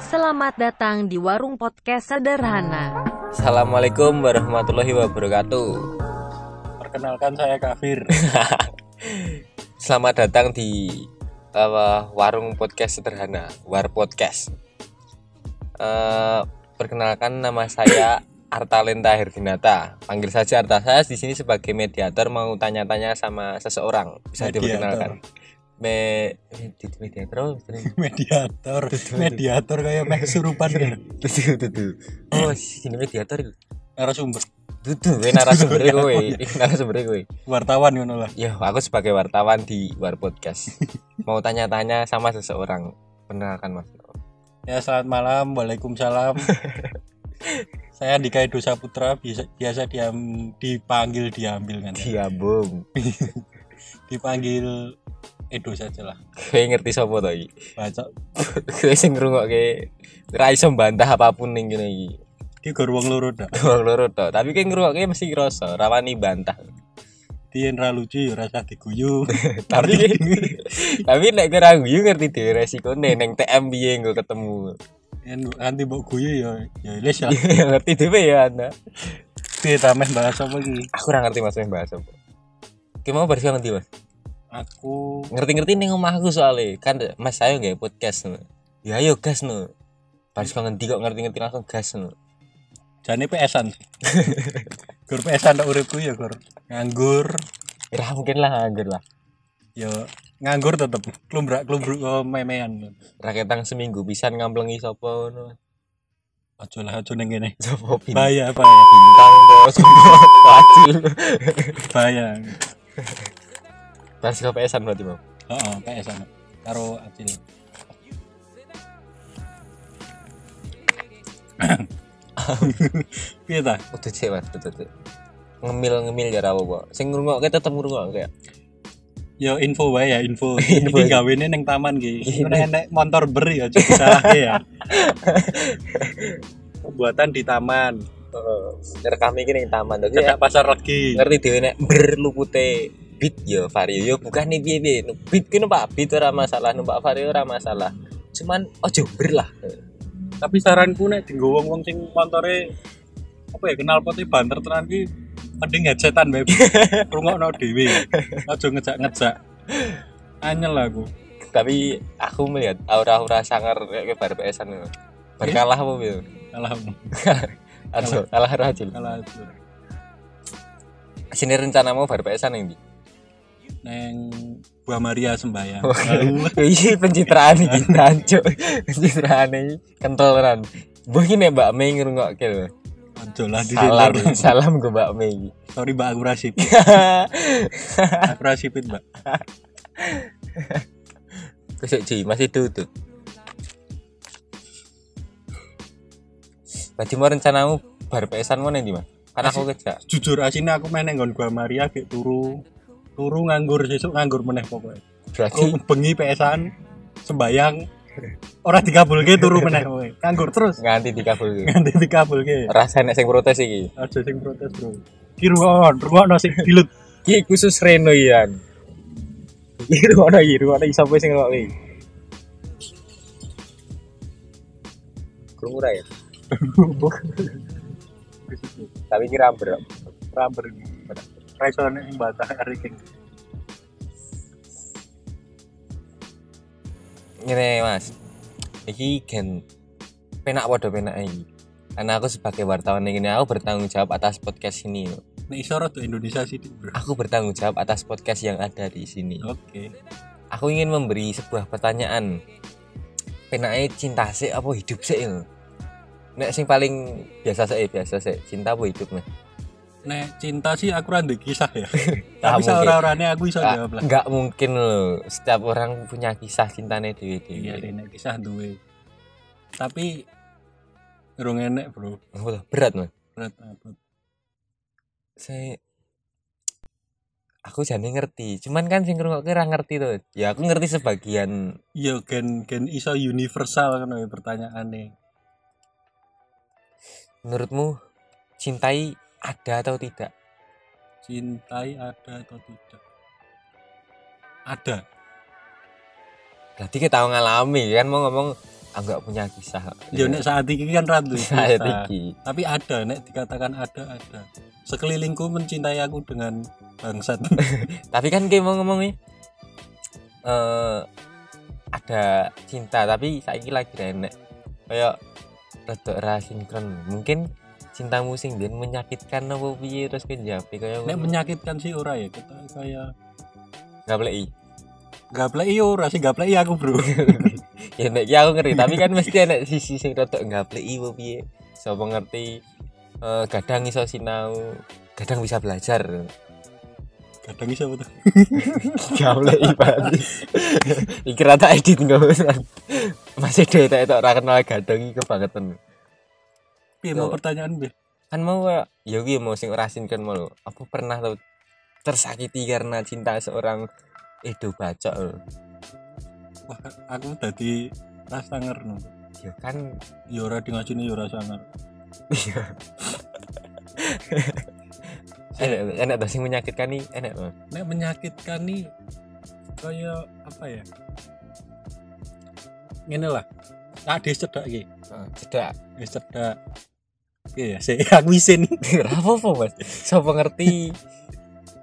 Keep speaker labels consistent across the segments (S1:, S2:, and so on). S1: Selamat datang di warung podcast sederhana.
S2: Assalamualaikum warahmatullahi wabarakatuh.
S3: Perkenalkan saya Kafir.
S2: Selamat datang di eh, warung podcast sederhana, War Podcast. Eh, perkenalkan nama saya Artalenta Herdinata. Panggil saja Arta. Saya di sini sebagai mediator mau tanya-tanya sama seseorang. Bisa
S3: Mediator.
S2: diperkenalkan. Me medi- mediator. apa istilahnya?
S3: mediator,
S2: Betul.
S3: mediator kayak mek surupan kan.
S2: Tuh, tuh, tuh. Oh, sini mediator. iku.
S3: Narasumber,
S2: Tuh, tuh, kowe narasumber kowe. Iku Narasumber kowe.
S3: wartawan ngono lah.
S2: Ya, aku sebagai wartawan di War Podcast. Mau tanya-tanya sama seseorang. Perkenalkan Mas.
S3: Ya selamat malam, waalaikumsalam. saya Andika Edo Saputra, biasa, biasa diam, dipanggil diambil kan. ya.
S2: Dia bom.
S3: Dipanggil Edo saja lah.
S2: Kowe ngerti sapa to iki?
S3: Baca
S2: Kowe sing ngrungokke ra iso bantah apapun ning kene iki.
S3: ki gor wong loro dah.
S2: Wong loro to, tapi kowe ngrungokke mesti ngrasa rawani bantah.
S3: Tien ra lucu ya rasa diguyu.
S2: tapi tapi nek kowe ra guyu ngerti dhewe resikone ning TM piye nggo ketemu.
S3: Tien nanti mbok guyu ya ya les ya.
S2: Ya ngerti dhewe ya Anda.
S3: Ki tameh bahas apa ki?
S2: Aku ra ngerti Mas yang bahas apa. Kowe mau bahas ngerti Mas?
S3: Aku
S2: ngerti-ngerti nih omahku soalnya kan mas ayo nggak podcast no. ya ayo gas no harus kau ngerti kok ngerti-ngerti langsung gas no
S3: jane PS-an. Gor PS-an tak uripku ya gor. Nganggur,
S2: ya mungkin lah nganggur lah
S3: ya nganggur tetep klumbrak klumbruk oh, memean
S2: raketang seminggu pisan ngamplengi sopo no
S3: aja lah aja ning kene
S2: sopo bintang
S3: bahaya bahaya
S2: bos wajil
S3: bahaya
S2: harus kau pesan berarti mau
S3: heeh PS ana karo acil piye ta
S2: udah cek mas udah cek ngemil ngemil ya rawo bo sing ngurungok kita tetep ngurungok kayak
S3: yo info wae ya info ini
S2: Info.
S3: gawene ning taman ki ora enek motor beri aja salahke ya pembuatan di taman
S2: rekam iki ning taman tuh
S3: cedak pasar legi
S2: ngerti dhewe nek berlupute beat yo vario yo bukan nih piye piye beat ku numpak beat ora masalah numpak vario ora masalah cuman ojo ber lah
S3: tapi saranku nek dienggo wong-wong sing motore apa ya kenal pote banter tenan ki mending headsetan bae rungokno dhewe aja ngejak-ngejak anyel aku
S2: tapi aku melihat aura-aura sangar kayak kayak bar PSan yo. berkalah apa yo
S3: kalah
S2: aduh kalah rajin
S3: kalah aku
S2: sini rencanamu bar PSan yang di
S3: neng Buah Maria sembayang
S2: iya pencitraan iki tanco pencitraan iki kental ran mungkin ya Mbak Mei ngerungok ke
S3: aja lah di
S2: salam
S3: dealer.
S2: salam ke Mbak Mei
S3: sorry mbak aku rasip aku rasipin mbak
S2: Kusuk cuy, masih tutup. Berarti mau rencanamu bar pesan mana nih mas? Karena aku kerja.
S3: jujur asine aku main neng Buah Maria kayak turu turu nganggur sesuk nganggur meneh pokoknya
S2: Berarti
S3: aku bengi pesan sembayang orang dikabulke turu meneh pokoknya nganggur terus
S2: nganti dikabul.
S3: nganti dikabulke
S2: Rasanya sing protes iki.
S3: aja sing protes bro ki ruwon ruwon sing dilut
S2: Ki khusus Reno ian. Iki ruwono iki ruwono iso apa sing ngelok iki. Krungu ra ya? Tapi kira bro.
S3: ramber raisone ing batah riking
S2: Ngene Mas. Iki gen penak padha penak iki. Karena aku sebagai wartawan yang ini aku bertanggung jawab atas podcast ini. loh.
S3: nek iso rada Indonesia sithik bro
S2: Aku bertanggung jawab atas podcast yang ada di sini.
S3: oke
S2: Aku ingin memberi sebuah pertanyaan. Penake cinta sih apa hidup sih? loh? Nek sing paling biasa sih biasa sih cinta apa hidup nih?
S3: nek cinta sih aku ra ndek kisah ya
S2: Tak
S3: tapi
S2: mungkin.
S3: saora-orane aku iso jawab lah
S2: Enggak mungkin loh. Setiap orang punya kisah cintanya
S3: iya
S2: dewi-dewi.
S3: deh, nek kisah duwe tapi urung enek bro
S2: Oh, berat mas.
S3: berat apa
S2: saya aku jadi ngerti cuman kan sing ngrungokke ra ngerti tuh ya aku ngerti sebagian
S3: iya gen gen iso universal kan ya pertanyaane
S2: menurutmu cintai ada atau tidak
S3: cintai ada atau tidak ada
S2: berarti kita tahu ngalami kan mau ngomong aku nggak punya kisah
S3: Ya nek saat ini kan randu.
S2: saya tinggi
S3: Tapi ada nek dikatakan ada ada. Sekelilingku mencintai aku dengan bangsat.
S2: tapi kan kayak mau ngomong nih eh, ada cinta tapi saiki lagi renek kayak rada ra sinkron mungkin cintamu sing biyen menyakitkan apa piye terus kan jawab kaya
S3: nek menyakitkan sih ora ya kita kayak
S2: enggak boleh
S3: gaplek yo ora sih gaplek iya aku, Bro.
S2: ya nek ya aku ngerti tapi kan mesti enek sisi sing rada enggak boleh apa piye sapa ngerti eh, kadang iso sinau kadang bisa belajar
S3: Kadang iso betul.
S2: Gak boleh ibadi. Iki rata edit nggak usah. Masih deh tak tak orang kenal gadang iki kebangetan.
S3: Piye mau pertanyaan piye?
S2: Kan mau kayak, ya gue mau sing ora sinken mau lho. Aku pernah tau tersakiti karena cinta seorang Edo Bacok lho.
S3: Wah, aku dadi rasa ngerno.
S2: Ya kan
S3: Yo ora di ngajeni yo ora sangar.
S2: enak enak tau sing menyakitkan nih enak tau.
S3: Nek menyakitkan nih kayak apa ya? Ngene lah. Tak dicedhak iki.
S2: Ah, Cedak.
S3: Wis cedak. Iya, sih aku isin.
S2: Apa apa Mas? Sapa ngerti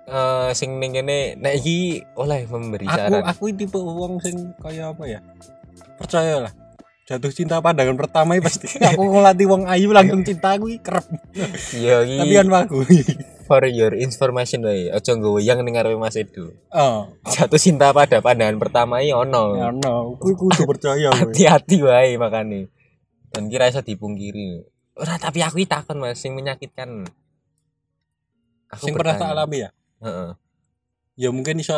S2: eh sing ning kene nek iki oleh memberi
S3: aku
S2: saran.
S3: aku tipe wong sing kaya apa ya? Percayalah. Jatuh cinta pandangan pertama iki pasti. aku ngelatih wong ayu langsung cinta aku iki kerep.
S2: Ya iki
S3: Tapi kan aku.
S2: for your information wae. Aja nggowo yang ning ngarepe Mas Edo.
S3: Oh,
S2: jatuh cinta pada pandangan pertama ini ono
S3: ya no, aku kudu percaya kowe.
S2: hati-hati wae makane dan kira iso dipungkiri ora tapi aku iki takon mas sing menyakitkan aku
S3: Sing pernah tak
S2: bertanya.
S3: alami ya?
S2: Heeh.
S3: Ya mungkin iso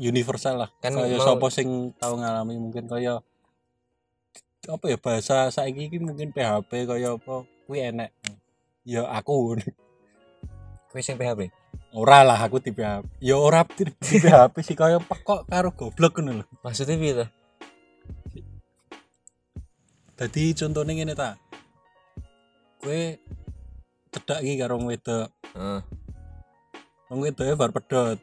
S3: universal lah.
S2: Kan
S3: kaya
S2: mau-
S3: sapa sing tau ngalami mungkin kaya apa ya bahasa saiki iki mungkin PHP kaya apa kuwi enek. Ya aku
S2: kowe sing PHP
S3: ora lah aku di PHP ya ora di, di PHP sih kaya pekok karo goblok ngono lho
S2: maksudnya piye to
S3: dadi contohnya ngene ta kowe cedak iki karo wong wedok
S2: Heeh.
S3: wong wedoke bar pedot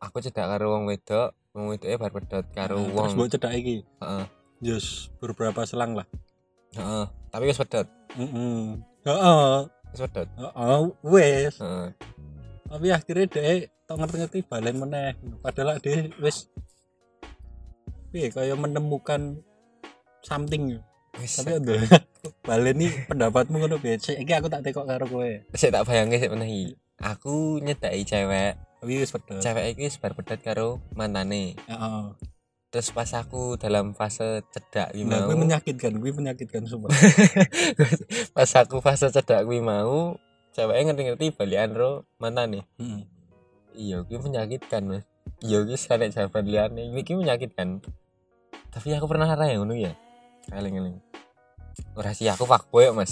S2: aku cedak karo wong wedok wong wedoke bar pedot karo
S3: Nah,
S2: wong
S3: terus mbok cedak iki
S2: Heeh.
S3: yes beberapa selang lah
S2: Heeh. tapi wis pedot
S3: heeh heeh
S2: wis pedot
S3: heeh wes
S2: Heeh.
S3: tapi akhirnya dhek tok ngerti-ngerti balen meneh padahal dhek wis piye kaya menemukan something
S2: wis
S3: tapi ya- udah balen nih pendapatmu ngono piye Sik, iki aku tak tekok karo kowe
S2: saya tak bayangke sik meneh iki. aku nyedaki cewek
S3: tapi wis pedot
S2: cewek iki wis bar pedot karo mantane
S3: heeh
S2: terus pas aku dalam fase cedak iki
S3: nah
S2: mau
S3: kuwi menyakitkan kuwi menyakitkan sumpah
S2: pas aku fase cedak kuwi mau ceweknya ngerti-ngerti balikan ro mana nih
S3: Heeh.
S2: iya kuwi menyakitkan mas iya kuwi sekali jawaban liane ini kuwi menyakitkan tapi aku pernah arah yang ngono ya kaling kaling ora sih aku fuckboy kok, mas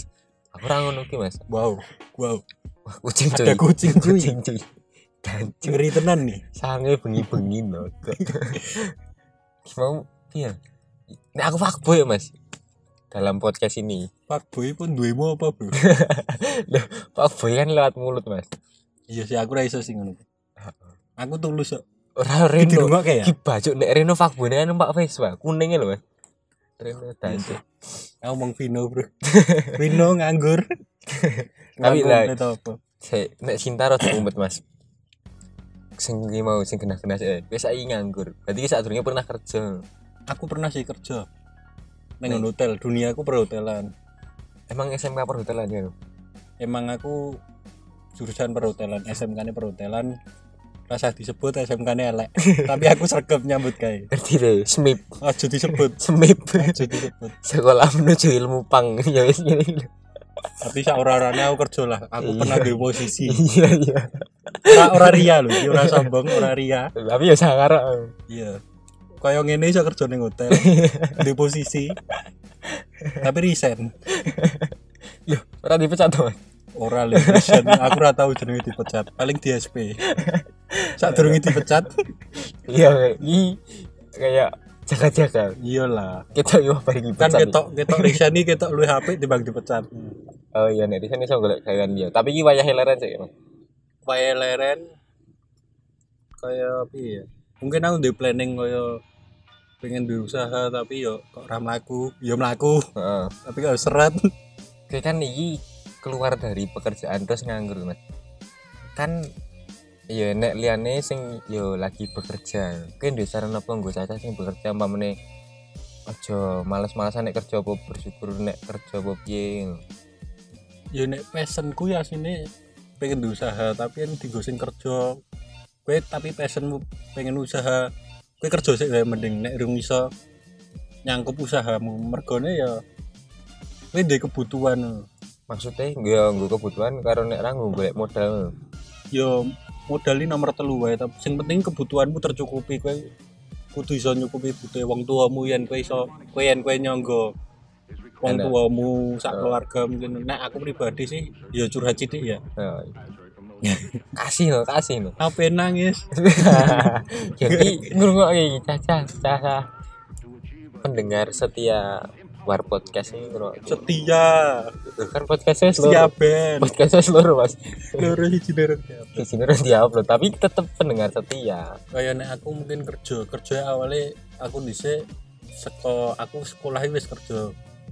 S2: aku ora ngono ki mas
S3: wow wow
S2: wah kucing cuy
S3: ada kucing cuy
S2: kucing cuy dan
S3: ngeri tenan nih
S2: sange bengi-bengi no mau iya nah, aku fuckboy mas dalam podcast ini
S3: pak boy pun duwemu apa bro
S2: fuckboy kan lewat mulut mas
S3: iya sih aku ra iso sih ngono aku tulus kok
S2: ora
S3: di
S2: reno
S3: rumah ya? kayak
S2: Ki bajuk nek Reno fakbone kan numpak Vespa, kuninge lho, Mas. Reno dancu.
S3: ngomong Vino bro Vino nganggur
S2: Tapi
S3: Nganggur
S2: lah.
S3: atau apa
S2: Sik, nek cinta rada umet, Mas. Sing iki mau sing genah-genah sik. Wis saiki nganggur. Berarti ki sadurunge pernah kerja.
S3: aku pernah sih kerja neng
S2: Neng.
S3: hotel dunia aku perhotelan
S2: Emang SMK perhotelan ya? Lu?
S3: emang aku jurusan perhotelan SMK nya perhotelan rasa disebut SMK nya elek tapi aku sergap nyambut kayak
S2: Ngerti deh, SMIP,
S3: aja disebut
S2: SMIP.
S3: aja disebut
S2: Sekolah menuju ilmu pang ya wis ngene. iki lho.
S3: tapi seorang-orangnya aku kerja lah aku
S2: Iya.
S3: pernah di posisi
S2: Iya iya.
S3: orang orang ria loh iki orang sombong orang ria
S2: Tapi ya sangar. oh.
S3: iya kayak ngene iso kerja neng hotel di posisi tapi resign
S2: Yo, ora dipecat to, Mas.
S3: ora lho resign aku ora tau jenenge dipecat paling di SP saat dipecat
S2: Iya, iki kayak jaga-jaga.
S3: iyalah
S2: Kita yo bari
S3: kan
S2: dipecat.
S3: ketok ketok resign iki ketok luwih apik timbang dipecat
S2: Oh iya nek di sana iso golek gawean dia. ya. Tapi iki wayahe leren sik. Mas.
S3: kaya leren kaya piye ya? mungkin aku di planning kaya pengen duwe usaha tapi yo kok ora mlaku, yo mlaku,
S2: Heeh.
S3: tapi kok seret.
S2: Kayak kan iki keluar dari pekerjaan terus nganggur mas kan ya nek liane sing yo lagi bekerja kan di saran apa nggo caca sing bekerja umpamane aja males-malesan nek kerja apa bersyukur nek kerja apa piye
S3: Yo nek passionku ya sini pengen duwe usaha tapi kan digosin kerja. Kowe tapi passionmu pengen usaha. Kowe kerja sik wae mending nek rung iso nyangkup usahamu. Mergone ya kowe ndek kebutuhan.
S2: maksudnya yo nggo kebutuhan karo nek ra nggo golek modal
S3: Yo modali Ya, nomor telu wae tapi sing penting kebutuhanmu tercukupi kowe kudu iso nyukupi butuhe wong tuamu yen kowe iso kowe yen kowe nyangga wong
S2: Enak.
S3: tuamu sak keluarga mungkin nek aku pribadi sih ya curhat sithik ya
S2: Nah. kasih lo kasih lo
S3: apa nangis
S2: jadi ngurungok iki caca caca pendengar setia war podcast ini ngurungok
S3: setia
S2: kan podcastnya
S3: setia
S2: seluruh
S3: band
S2: podcastnya seluruh mas
S3: loro hiji derek
S2: di sini harus diupload tapi tetap pendengar setia
S3: kaya nek aku mungkin kerja kerja awalnya aku dhisik seko aku sekolah wis kerja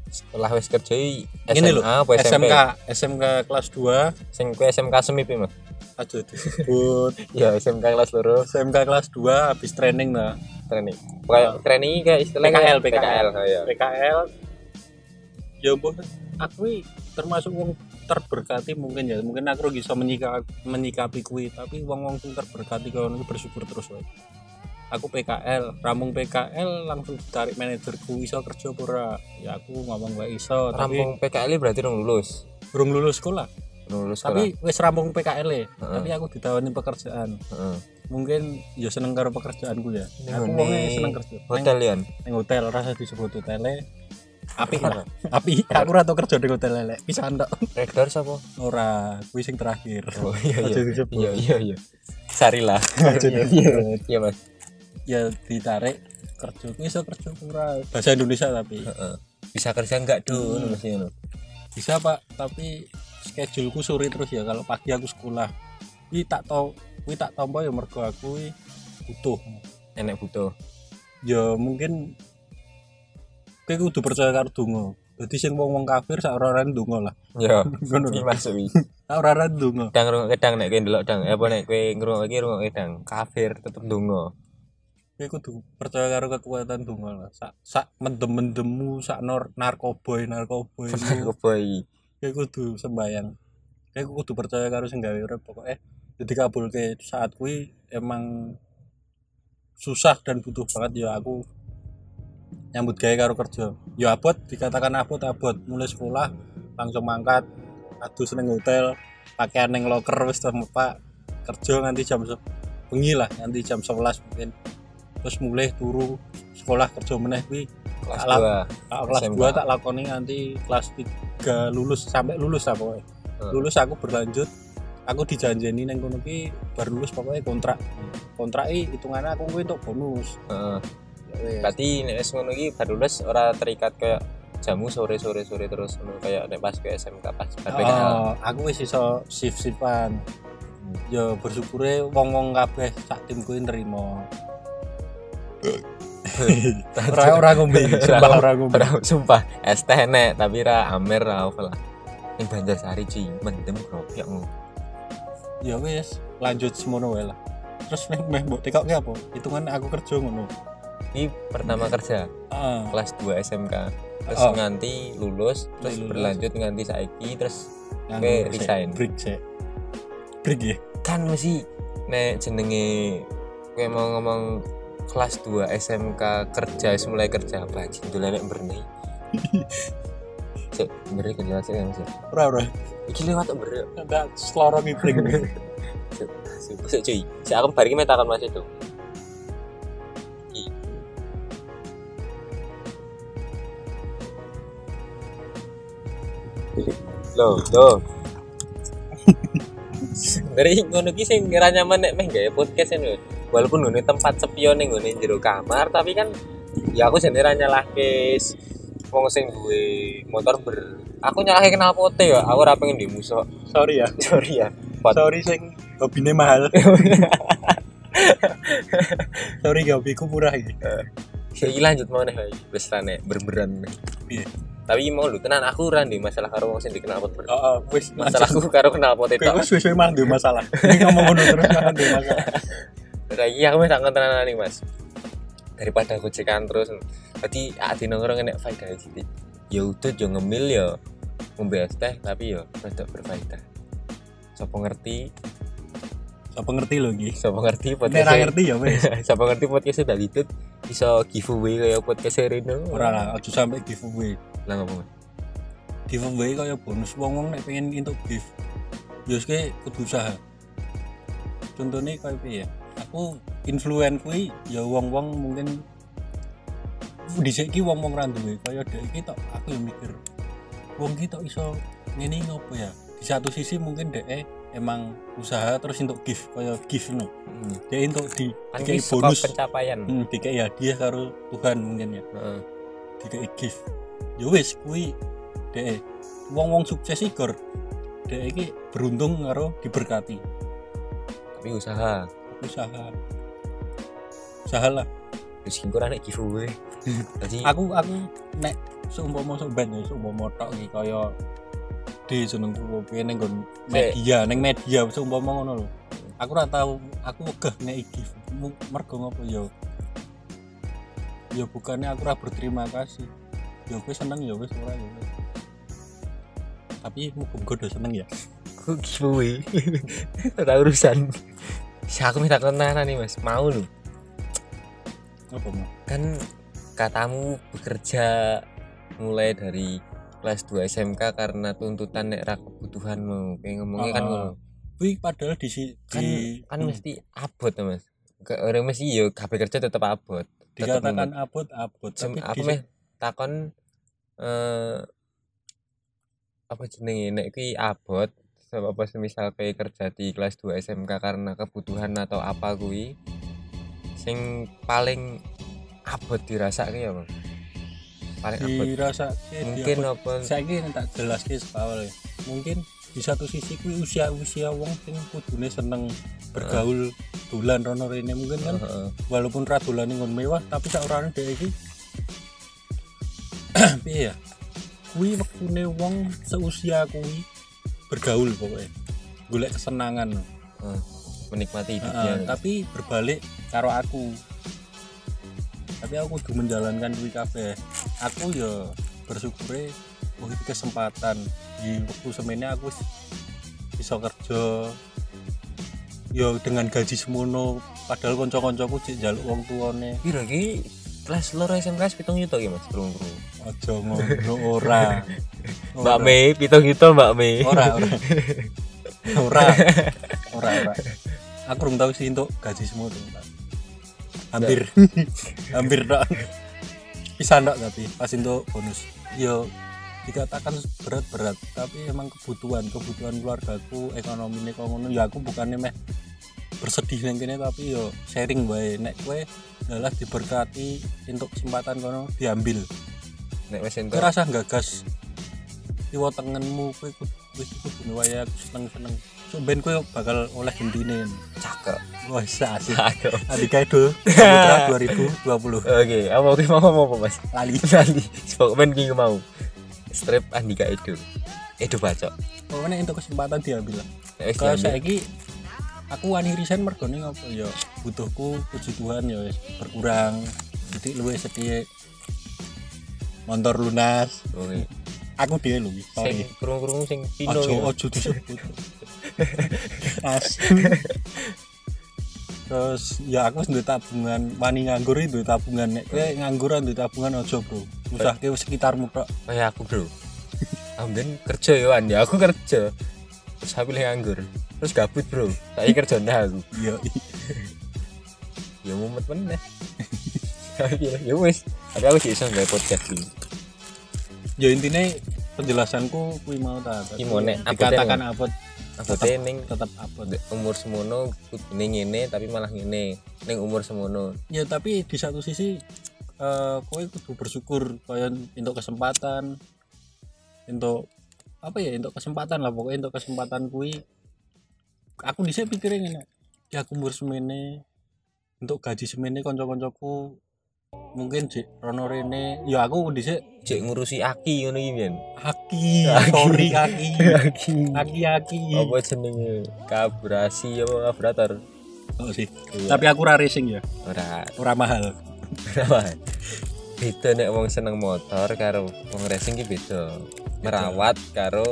S2: setelah wes kerja i-
S3: Ngene lho,
S2: SMA apa SMP
S3: SMK SMK kelas 2
S2: sing ku SMK semip mas
S3: aja disebut
S2: ya SMK kelas loro
S3: SMK kelas 2 habis training lah
S2: training kayak training ini kayak istilahnya
S3: PKL,
S2: kayak PKL
S3: PKL.
S2: oh, ya
S3: PKL ya mbok aku i termasuk wong terberkati mungkin ya mungkin aku bisa menyika, menyikapi kuwi tapi wong wong sing terberkati kau bersyukur terus wae aku PKL ramung PKL langsung ditarik manajerku iso kerja pura ya aku ngomong wae iso tapi
S2: rampung PKL ini berarti rung lulus
S3: belum lulus sekolah
S2: rung lulus
S3: tapi wis rampung PKL ya
S2: Heeh.
S3: tapi aku ditawani pekerjaan
S2: sekolah. Heeh.
S3: mungkin ya seneng karo pekerjaanku ya
S2: Ning
S3: aku
S2: ngene
S3: wongnya seneng kerja Neng-
S2: hotel Lian
S3: ning hotel rasa disebut hotel api lah api aku ora tau kerja di hotel lele pisan tok
S2: rektor siapa
S3: ora kuwi sing terakhir
S2: oh iya
S3: Aja
S2: iya
S3: disebut.
S2: iya iya iya Sarila
S3: Aja disebut.
S2: iya mas
S3: ya ditarik kerja kuwi iso kerja ora bahasa Indonesia tapi
S2: Heeh. bisa kerja enggak dulu
S3: Hmm.
S2: mesti ngono.
S3: bisa Pak tapi scheduleku sore terus ya kalau pagi aku sekolah kuwi tak tau kuwi tak tompo ya mergo aku kuwi butuh
S2: enek butuh
S3: ya mungkin kuwi kudu percaya karo donga jadi sing wong-wong kafir sak ora-ora donga lah
S2: ya
S3: ngono
S2: iki masuk iki
S3: sak ora-ora donga
S2: dang rungok kedang nek kowe ndelok dang Eh, apa nek kowe ngrungok iki rungok kedang kafir tetep ndonga
S3: Kowe kudu percaya karo kekuatan donga lah. Sak sak mendem-mendemmu sak nor narkoboy narkoboy.
S2: aku boy
S3: Kowe kudu sembayang. Kowe kudu percaya karo sing gawe urip pokoke jadi kabulke saat kuwi emang susah dan butuh banget ya aku nyambut gawe karo kerja. Ya abot dikatakan abot abot mulai sekolah langsung mangkat adus ning hotel pakaian ning loker wis terus Pak kerja nganti jam se- bengi lah nganti jam 11 mungkin terus mulai turu sekolah kerja meneh kuwi
S2: kelas
S3: Alam.
S2: 2
S3: Tak kelas
S2: SMK.
S3: 2 tak lakoni nganti kelas 3 lulus sampai lulus lah pokoknya.
S2: Hmm.
S3: Lulus aku berlanjut aku dijanjeni neng kono ki bar lulus pokoknya kontrak. Kontrak i hitungannya aku kuwi untuk bonus.
S2: Heeh.
S3: Ya wes.
S2: berarti nek wis ngono iki baru lulus ora terikat kayak jamu sore sore sore terus ngono kayak nek pas ke SMK pas bar PKL
S3: Oh, aku wis iso shift-shiftan. Ya bersyukure wong-wong kabeh sak tim kuwi nerima. Ora ora ngombe, sumpah ora ngombe.
S2: Ora, sumpah es teh nek tapi ra amer ra apa lah ini Banjarsari sih mendem grobyok ngono
S3: Ya wis, lanjut semono wae lah. Terus meh meh mbok tekokke apa? Hitungan aku kerja ngono. Ah.
S2: ini pertama kerja
S3: Heeh.
S2: kelas 2 SMK terus
S3: Oh.
S2: nganti lulus terus
S3: Lulus.
S2: berlanjut nganti saiki terus
S3: Yang
S2: Oke,
S3: break,
S2: resign.
S3: break cek break ya
S2: kan mesti nek jenenge kowe mau ngomong kelas 2 SMK kerja wis mulai kerja banjir dolan nek mberne. Cek mberne kerja sik kan sik.
S3: ora ora
S2: Iki lewat mberne.
S3: ada selorong break
S2: Cek, Sik sik, cuy. Sik aku bar iki metakon Mas itu. Loh, loh. Sebenarnya ngono ki sing ngira nyaman nek meh gawe podcast kan lho. Walaupun ngene tempat sepi ning ngene jero kamar, tapi kan ya aku jane ra nyalahke s- wong sing duwe motor ber. Aku nyalahke kenal pote ya, aku ora pengen di musuh.
S3: sorry ya
S2: Sorry ya. Pot.
S3: sorry sing hobine mahal sorry hobiku murah ya
S2: Iki Iya, lanjut mau nih wis rane berberan.
S3: Iya.
S2: Tapi mau lu tenan aku ora ndek masalah karo wong sing dikenal pot berberan.
S3: Heeh, wis
S2: Masalahku karo kenal pot itu.
S3: Kowe wis wis memang duwe masalah. Ini ngomong ngono terus malah duwe masalah.
S2: Ora iki iya, aku wis tak tenan nih Mas. Daripada gojekan terus. ah, Tadi ati nongkrong enek faedah sithik. Ya udah yo ngemil yo. Ngombe es teh tapi yo rada berfaedah. Sapa ngerti?
S3: Sapa ngerti lho iki?
S2: Sapa ngerti
S3: Nek ra
S2: podcast?
S3: ngerti ya wis.
S2: Sapa ngerti podcast udah ditut bisa giveaway kayak podcast Reno.
S3: Ora lah, aja sampe giveaway.
S2: Lah ngomong.
S3: Giveaway kaya bonus wong-wong nek pengen entuk gift. Yo ske kudu usaha. Contohnya kaya piye? Aku influen kuwi ya wong-wong mungkin dhisik iki wong-wong ra duwe kaya dek iki tok aku yang mikir. Wong iki tok iso ngene iki ngopo ya? Di satu sisi mungkin dek emang usaha terus entuk gift kaya gift no.
S2: Hmm.
S3: Dek entuk di
S2: kan
S3: Dikei
S2: ini sebuah
S3: bonus.
S2: pencapaian
S3: hmm, dikei hadiah karo Tuhan mungkin ya.
S2: Heeh.
S3: dikei gift ya wis kuwi dhek wong wong sukses igor dhek iki beruntung karo diberkati
S2: tapi usaha
S3: usaha usaha lah
S2: terus kengkur anak giveaway tadi
S3: aku aku nek seumpama sobat ya seumpama tok iki kaya di jenengku kuwi ning nggon
S2: Sik.
S3: media ning media seumpama ngono lho aku ora tau aku wegah nek gift Mu- mergo ngopo ya ya bukannya aku ora berterima kasih ya aku seneng ya wis ora ya wis tapi muga-muga do seneng ya
S2: aku giveaway ada urusan si aku minta kenalan nih mas mau lu
S3: apa mau
S2: kan katamu bekerja mulai dari kelas 2 SMK karena tuntutan nek ra kebutuhanmu kayak ngomongnya kan
S3: Ah,
S2: ngono
S3: wih padahal di si
S2: kan
S3: di,
S2: kan
S3: hmm,
S2: mesti abot ya mas Ke- orang mesti yo kabeh kerja tetap abot tetep
S3: dikatakan abot abot
S2: Sem-
S3: tapi
S2: apa
S3: di-
S2: meh takon eh apa jenenge nek kuwi abot sebab apa semisal kayak kerja di kelas 2 SMK karena kebutuhan atau apa kuwi sing paling abot dirasa ki apa paling abot
S3: dirasa eh,
S2: mungkin apa
S3: saya ini tak jelas ke sekawal ya mungkin di satu sisi kuwi usia usia wong sing kudune seneng bergaul dolan rono rene mungkin kan
S2: Heeh.
S3: walaupun ra dolan nggon mewah tapi sak orane dhek iki piye ya kuwi wektune wong seusia kuwi bergaul pokoknya golek kesenangan
S2: Heeh. menikmati hidupnya
S3: Heeh, tapi berbalik karo aku tapi aku kudu menjalankan duit kabeh aku ya bersyukure oh iki kesempatan di waktu semene aku wis bisa kerja ya dengan gaji semono padahal konco-koncoku cek njaluk wong tuane
S2: piro ki kelas loro SMK pitung yuto ki Mas krungu
S3: aja ngono ora Oh, nah.
S2: Mbak Mei pitung yuto Mbak Mei
S3: ora ora ora ora ora aku belum tahu sih untuk gaji semua tuh hampir hampir dok bisa dok tapi pas untuk bonus yo dikatakan berat-berat tapi emang kebutuhan kebutuhan keluargaku ekonomi nih ngono ya aku bukannya meh bersedih neng kene tapi yo sharing bae nek kue adalah diberkati untuk kesempatan kono diambil
S2: nek wis
S3: Kowe
S2: entuk
S3: rasa gagas iwa tengenmu kowe kudu kudu waya seneng-seneng. So ben kowe bakal oleh gendine.
S2: cakep
S3: Wah, asik.
S2: cakep
S3: Andika Edo Saputra 2020
S2: Oke, apa oke mau apa mas?
S3: lali.
S2: Lali, Spokman gue mau Strip Andika Edo Edo bacok Eh,
S3: Pokoknya untuk kesempatan diambil.
S2: Nek wis
S3: Kalau
S2: diambil,
S3: saiki aku wani resign mergo ning apa ya butuhku puji Tuhan ya wis berkurang. Titik luwih sedih motor lunas
S2: oke.
S3: aku dia lu
S2: Oh, iya. Sing
S3: sorry
S2: kerung-kerung sing Pino
S3: Oh, iya. ojo
S2: gitu.
S3: ojo disebut As. terus ya aku sendiri tabungan wani nganggur itu tabungan nek kowe ngangguran duwe tabungan ojo bro usahke wis sekitarmu tok
S2: Kayak Oh, iya, aku bro Amben kerja ya Wan, ya aku kerja Terus aku pilih nganggur Terus gabut bro, saya kerja ndah aku
S3: iya
S2: Ya mumet meneh Tapi ya, Ya wis, tapi aku sih iso nggawe podcast ini
S3: ya intinya penjelasanku kuwi mau ta Tapi
S2: Ki mau nek ya. abot
S3: dikatakan abot
S2: Aku teh ning
S3: tetap abot
S2: umur semono kudune ngene tapi malah ngene ning umur semono
S3: ya tapi di satu sisi eh kowe kudu bersyukur kaya untuk kesempatan untuk apa ya untuk kesempatan lah pokoknya untuk kesempatan kui aku bisa pikirin ini ya aku umur semene untuk gaji semene konco-koncoku mungkin Jik Rono Rene ya aku dhisik
S2: Cek ngurusi aki ngono iki, Bian.
S3: aki
S2: Aki.
S3: sorry aki
S2: Aki.
S3: aki aki
S2: Apa jenenge? Kabrasi apa kabrator?
S3: Oh, sih.
S2: Iya.
S3: tapi aku ora racing ya
S2: ora
S3: ora mahal
S2: Kenapa? beda nek wong seneng motor karo wong racing ki beda merawat karo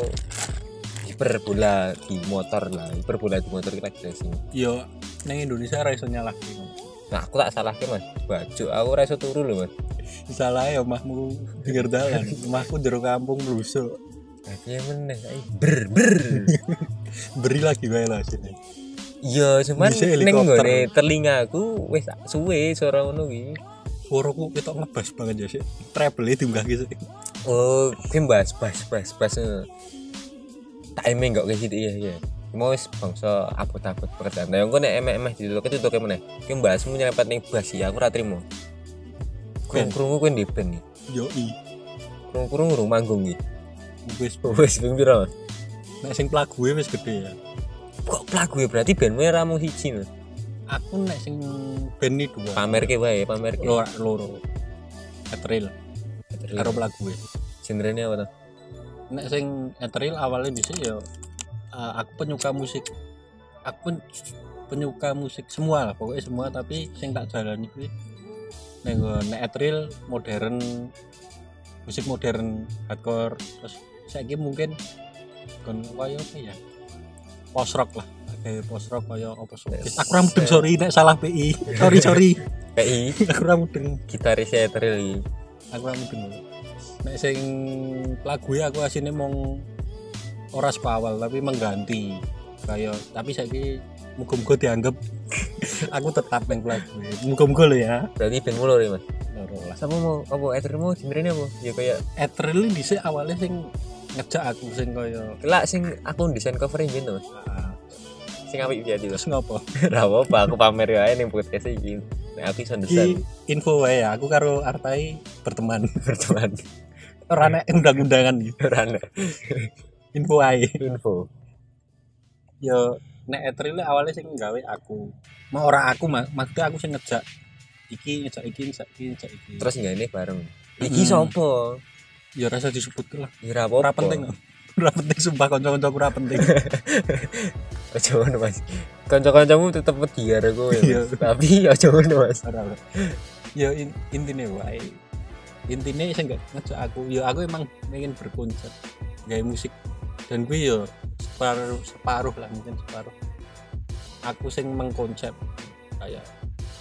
S2: hiperbola di motor lah hiperbola di motor kita racing
S3: yo nang Ya, Indonesia ora iso nyalahke
S2: nah aku tak salah mas baju aku ora iso turu lho mas
S3: salah ya omahmu pinggir dalan omahku jero kampung rusuk
S2: Iya meneh ai ber ber.
S3: beri lagi wae lah sini
S2: Iya cuman
S3: Bisa
S2: ning
S3: helikopter.
S2: nggone telingaku wis suwe suara ngono kuwi.
S3: suaraku ketok ngebas banget ya sih treble e diunggah gitu
S2: Oh, kuwi bas bas bas bas. eh. Timing kok kayak gitu ya ya. Mau wis bangsa abot-abot pekerjaan. Nah, yang gue nek emeh-emeh ditutuke tutuke meneh. Kuwi bahasmu nyerempet ning bas ya aku ra trimo.
S3: Ben.
S2: Krungu-krungu kuwi ndi ben iki?
S3: yo i
S2: Krungu-krungu ru manggung iki.
S3: wis
S2: Wis ping pira? Mas?
S3: nek sing plague wis gede ya
S2: Kok lagu ya berarti bandmu ra mung siji no.
S3: aku nek sing band ini dua
S2: Pamerke wae, pamerke.
S3: loro loro etril karo e. plague
S2: Genrenya apa to?
S3: nek sing etril awalnya bisa ya eh, aku penyuka musik aku pen- penyuka musik semua lah pokoknya semua tapi sing tak jalani kuwi nek nggo- nek etril modern musik modern hardcore terus saiki mungkin kon koyo apa ya post rock lah kayak post rock koyo apa
S2: Yes.
S3: aku ra mudeng sorry nek salah PI sorry sorry
S2: PI
S3: aku ra mudeng
S2: gitaris ya, saya teril
S3: aku ra mudeng nek sing lagu ya, aku asine mong ora sepawal tapi mengganti kayak tapi saiki muga-muga dianggap aku tetap neng lagu muga-muga lho ya
S2: berarti band mulu ya mas
S3: loro lah
S2: sama mau apa etermu sebenarnya apa ya kayak
S3: Etril ini dhisik awalnya sing ngejak aku sing koyo
S2: kelak sing aku desain covernya gitu mas
S3: ah,
S2: sing apik biar di
S3: terus ngopo
S2: rawa apa aku pamer ya ini podcast ini nah, aku bisa
S3: iki
S2: desain
S3: info wae ya, aku karo Artai berteman
S2: berteman
S3: ora nek undang-undangan gitu
S2: rana
S3: info wae
S2: info
S3: yo Ya, nek Etril awalnya sing gawe aku mau ora aku mak maksudnya aku sing ngejak iki ngejak iki ngejak iki ngejak iki
S2: terus nggak ini bareng iki
S3: Hmm.
S2: sopo
S3: ya rasa disebut lah
S2: ya rawa
S3: ora penting ora penting sumpah kanca-kanca ora penting
S2: ojo ngono mas kanca-kancamu tetep mediar aku
S3: Iya.
S2: ya mas. tapi ojo ngono mas
S3: ora ora ya in, intine wae intine sing nggak ngejak aku ya aku emang pengen berkonsep gaya musik dan gue ya separuh separuh lah mungkin separuh aku sing mengkonsep kayak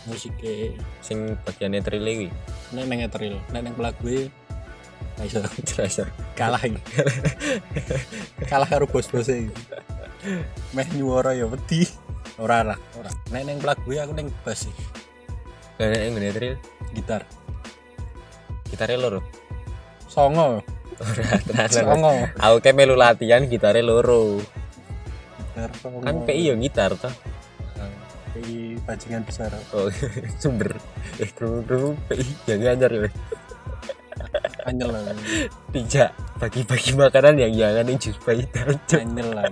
S3: musiknya
S2: sing bagian eteril ini
S3: nek neng etril nek neng pelaku gue iso
S2: terasa
S3: kalah iki. kalah karo bos-bose iki. meh nyuara ya wedi ora lah ora nek neng pelaku gue aku neng bass sih,
S2: nah ini nggak eteril
S3: gitar
S2: gitarnya loro
S3: songo
S2: ora tenanan Mas.
S3: songo
S2: aku kayak melu latihan gitarnya loro
S3: gitar songo
S2: kan PI yang gitar toh
S3: PI bajingan besar
S2: oh, sumber eh dulu dulu PI yang ngajar ya
S3: anyel lah
S2: tidak bagi-bagi makanan yang jangan yang jus pahit aja
S3: anyel lah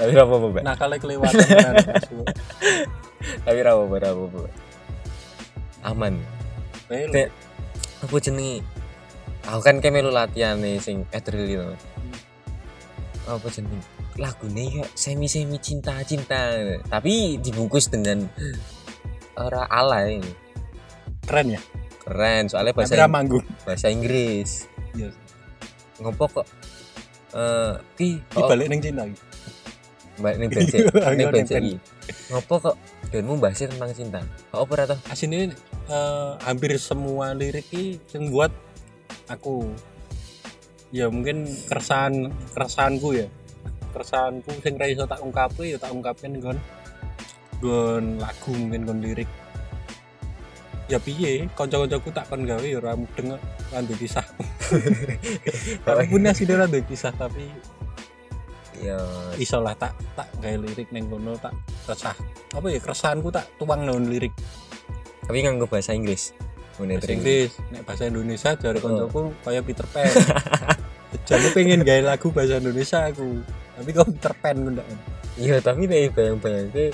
S2: tapi apa apa Mbak?
S3: nah kalau kelewatan kan
S2: tapi apa apa apa apa aman
S3: Melu.
S2: kayak aku jenengi aku kan kayak melu latihan nih sing etril gitu
S3: Hmm.
S2: apa jenengi lagunya kayak semi semi cinta cinta tapi dibungkus dengan ora alay
S3: keren ya
S2: keren soalnya bahasa
S3: hampir manggung
S2: bahasa Inggris
S3: iya
S2: ngopo kok eh ki
S3: di
S2: oh,
S3: balik neng Cina iki.
S2: mbak ning bensin
S3: Iya,
S2: ning
S3: iya,
S2: bensin
S3: ning
S2: iki ngopo kok denmu bahasnya tentang cinta kok opera toh
S3: asin ini eh, hampir semua lirik ini yang buat aku ya mungkin keresahan keresahanku ya keresahanku sing ra iso tak ungkapi ya tak ungkapin gon gon lagu mungkin gon lirik ya piye kanca-kancaku tak kon gawe ya ora mudeng kok, ora duwe kisah aku pun asine ora duwe kisah tapi
S2: ya
S3: iso lah tak tak gawe lirik ning kono tak resah apa ya keresahanku tak tuang nang lirik
S2: tapi nganggo bahasa Inggris Ngene
S3: bahasa
S2: tring.
S3: Inggris nek bahasa Indonesia dari
S2: Oh.
S3: koncoku kayak Peter Pan jadi pengen gaya lagu bahasa Indonesia aku tapi kok Peter Pan ku ndak
S2: iya tapi nek nah, bayang-bayang ke eh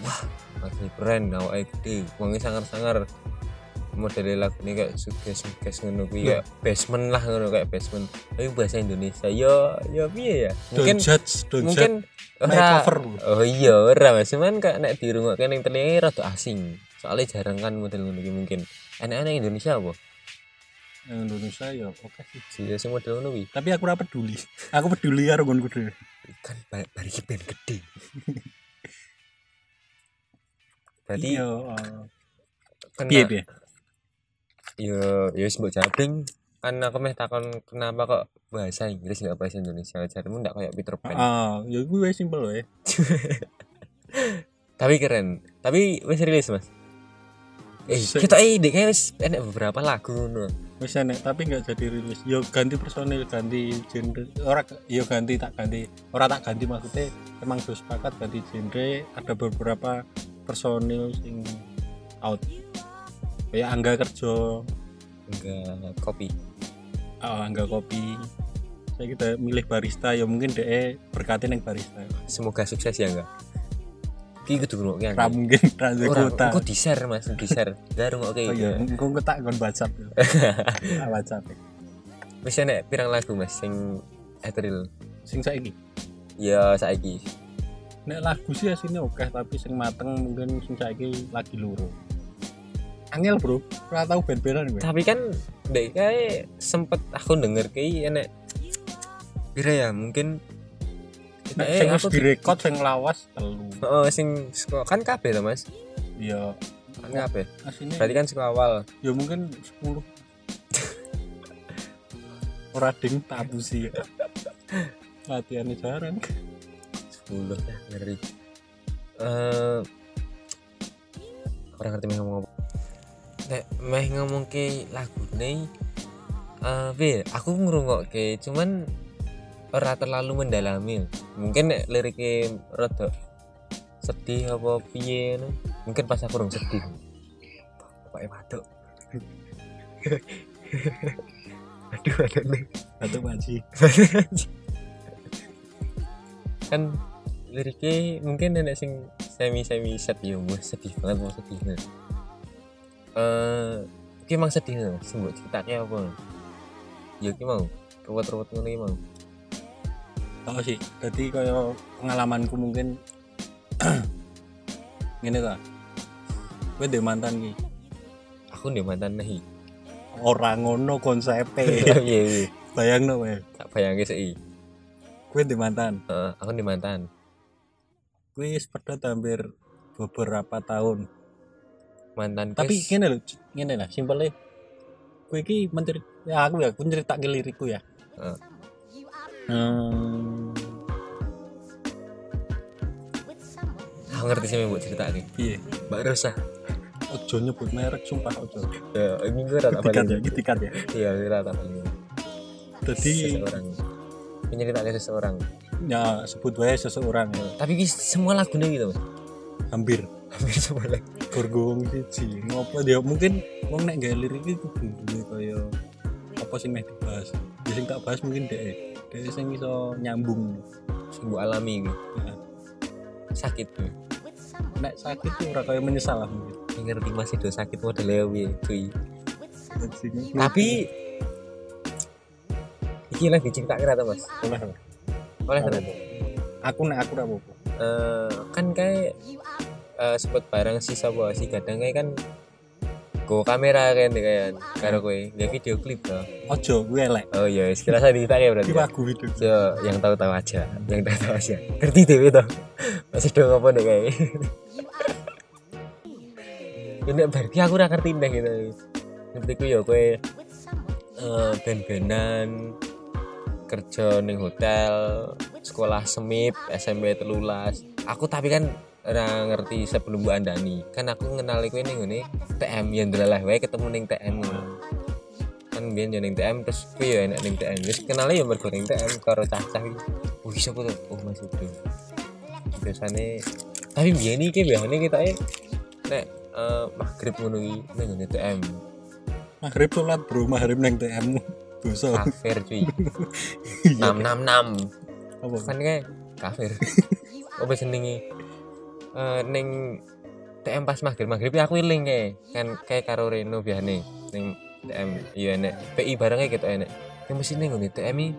S2: wah masih keren awake gede wangi sangar-sangar model lagu ini kayak suges suges ngono kuwi kayak
S3: Iya.
S2: basement lah ngono kayak basement tapi bahasa Indonesia yo yo piye ya mungkin
S3: don't judge don't
S2: mungkin
S3: judge
S2: ora-
S3: makeover
S2: oh iya ora mas cuman kayak nek dirungokne ning telinge rada asing soalnya jarang kan model ngono iki mungkin anak-anak Indonesia apa
S3: Yang Indonesia ya oke sih
S2: sih sing model ngono kuwi
S3: tapi aku ora peduli aku peduli karo nggonku dhewe
S2: kan bar bar iki band gede berarti
S3: iya
S2: kena-
S3: piye piye
S2: yo yo mbok jabling kan aku meh takon kenapa kok bahasa Inggris nggak bahasa Indonesia jarimu ndak kayak Peter Pan
S3: heeh ya gue wis simpel wae
S2: tapi keren tapi wis rilis mas eh
S3: Se-
S2: kita eh dek kayaknya wis enak beberapa lagu ngono
S3: wis enek tapi nggak jadi rilis yo ganti personil ganti genre ora yo ganti tak ganti ora tak ganti maksudnya emang sudah sepakat ganti genre ada beberapa personil sing out kayak angga kerja
S2: enggak kopi
S3: oh, angga kopi saya kita milih barista ya mungkin deh berkatin yang barista
S2: semoga sukses ya enggak ki kudu ngrungokke
S3: ra
S2: aku
S3: mungkin transaksi
S2: ora
S3: kota
S2: engko di share mas di share dah ngrungokke
S3: oh iya engko engko tak kon WhatsApp yo Ah, WhatsApp
S2: wis enak pirang lagu mas sing April
S3: sing saiki
S2: ya saiki
S3: nek lagu sih aslinya oke tapi sing mateng mungkin sing saiki lagi luru angel bro ora tau ben-benan gue
S2: tapi kan dek kayak sempet aku denger kayak enek pira ya mungkin
S3: nek
S2: Eh,
S3: sing wis
S2: aku
S3: direkod sing lawas telu
S2: Heeh, sing seko- kan kabeh to mas
S3: ya
S2: kan kabeh
S3: aslinya
S2: berarti kan seko awal
S3: ya mungkin 10 ora ding tak abusi ya latihannya jarang
S2: 10 ya ngeri Eh, orang ngerti meh ngomong apa nek meh ngomong ke lagu nih eh piye, aku ngerungok ke cuman ora terlalu mendalami mungkin nek liriknya rada sedih apa piye ngono. mungkin pas aku rung sedih pokoknya waduk aduh aduh aduh.
S3: atau panci
S2: kan liriknya mungkin ada sing semi semi set yo wah sedih banget mau sedih banget eh ki emang sedih nih sih mbok ceritanya apa ya ki mau ruwet ruwet ngono ki mau
S3: tau sih jadi kaya pengalamanku mungkin ngene ta gue de mantan ki
S2: aku nih mantan nih
S3: ora ngono konsepe
S2: iya iya
S3: bayangno wae
S2: tak bayangin sih
S3: gue di mantan
S2: Eh, aku nih mantan
S3: gue sepeda hampir beberapa tahun
S2: mantan
S3: tapi
S2: kes-
S3: gini loh gini lah simpelnya gue ki mencerit ya aku ya aku cerita lirikku ya
S2: Heeh.
S3: hmm.
S2: aku ngerti sih mbok cerita nih
S3: iya
S2: mbak Rosa
S3: ojo nyebut merek sumpah ojo
S2: ya ini gue rata
S3: tiket ya
S2: paling
S3: iki tiket ya
S2: iya gue rata paling
S3: jadi
S2: seseorang ini cerita seseorang
S3: ya sebut wae seseorang ya.
S2: Eh, tapi ki semua lagunya gitu Mas.
S3: hampir
S2: hampir semua lagu
S3: gorgong siji ngopo ya mungkin wong nek gawe lirik iki kudu duwe kaya apa sih meh dibahas ya sing tak bahas mungkin deh deh sing iso nyambung
S2: sing mbok alami gitu.
S3: Ya.
S2: sakit tuh
S3: nek sakit tuh ora kaya menyesal lah mungkin
S2: ngerti masih do sakit model lewe cuy
S3: Sing-
S2: tapi iki lagi cinta kira tuh mas oleh
S3: Oleh apa? Apa?
S2: karena
S3: aku nek aku ora apa-apa
S2: eh, kan kayak eh, sempet bareng si sapa si gadang kayak kan go kamera kan deh kayak karo kowe ya video klip toh
S3: ojo gue elek
S2: oh iya wis kira saya cerita ya berarti
S3: iki
S2: ya.
S3: aku hidup
S2: Yo, yang tahu-tahu aja, yang tahu-tahu aja. Ngerti dewe toh. Masih do ngopo nek kae. Ya nek berarti aku ora ngerti ndek gitu. Ngerti ku yo kowe eh ben-benan kerja ning hotel, sekolah semip, SMP telulas. Aku tapi kan ora ngerti sebelum Bu Andani. Kan aku ngenali kowe ning ngene TM Yendralah wae ketemu ning TM ngono kan biar yo ning TM terus kuwi yo enak ning TM terus kenalnya yo mergo ning TM karo cacah iki wih sapa tuh oh Mas Udo biasane tapi biyen iki biasane kita eh nek eh, maghrib ngono iki ning ngene TM
S3: maghrib sholat bro maghrib neng TM dosa
S2: kafir cuy
S3: Iya.
S2: 666
S3: apa
S2: kan kayak kafir apa senengi eh ning TM pas maghrib maghrib ya aku iling kayak kan kayak karo Reno biane ning TM iya enek PI barengnya gitu enek ya mesin ning ngene TM i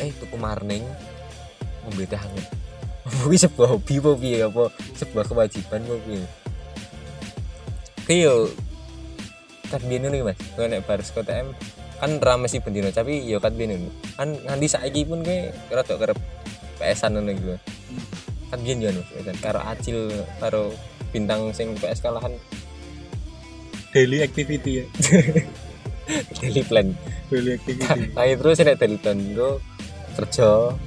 S2: eh tuku marning ngombe teh anget apa ini sebuah hobi apa piye apa sebuah kewajiban apa piye Kayak kat biyen nih Mas kowe nek bar saka TM kan rame sih bendino tapi yo kat biyen ngono. kan nganti saiki pun kowe rada kerep PS-an ngono gitu kan biyen yo anu dan karo acil karo bintang sing PS kalahan
S3: daily activity ya
S2: daily plan
S3: daily activity
S2: akhir terus nek daily plan itu kerja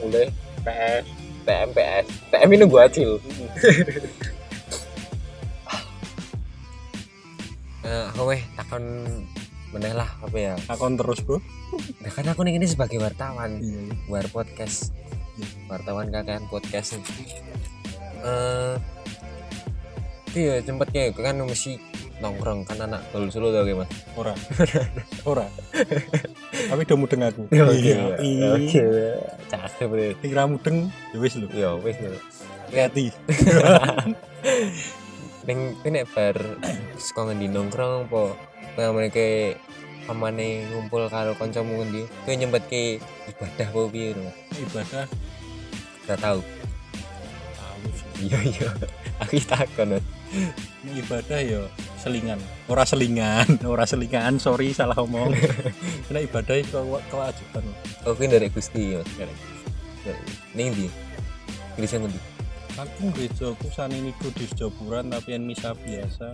S2: mulai
S3: PS
S2: TM PS TM ini nunggu acil Eh, aku weh takon meneh lah apa ya
S3: akun terus bro
S2: nah, kan aku nih ini sebagai wartawan
S3: iya
S2: war podcast wartawan kakean podcast eh iya sempet kayak kan mesti nongkrong kan anak dulu solo tau kayak mas
S3: ora ora tapi udah mudeng aku Oh, iya
S2: oke cakep deh
S3: kira mudeng ya wis lho
S2: ya wes nih
S3: kreatif
S2: neng ini bar sekolah di nongkrong po nah mereka pamane ngumpul karo kancamu ngendi kowe nyempet ke ibadah po piye to Mas?
S3: ibadah
S2: gak tau
S3: halus
S2: iya iya aku takon Mas.
S3: Ini ibadah ya selingan ora selingan ora selingan sorry salah omong kena ibadah itu kewa- kewajiban
S2: oh kuwi dari Gusti Mas.
S3: Derek.
S2: ning ndi gereja ngendi
S3: aku gereja aku sani niku di Jaburan tapi yang misa biasa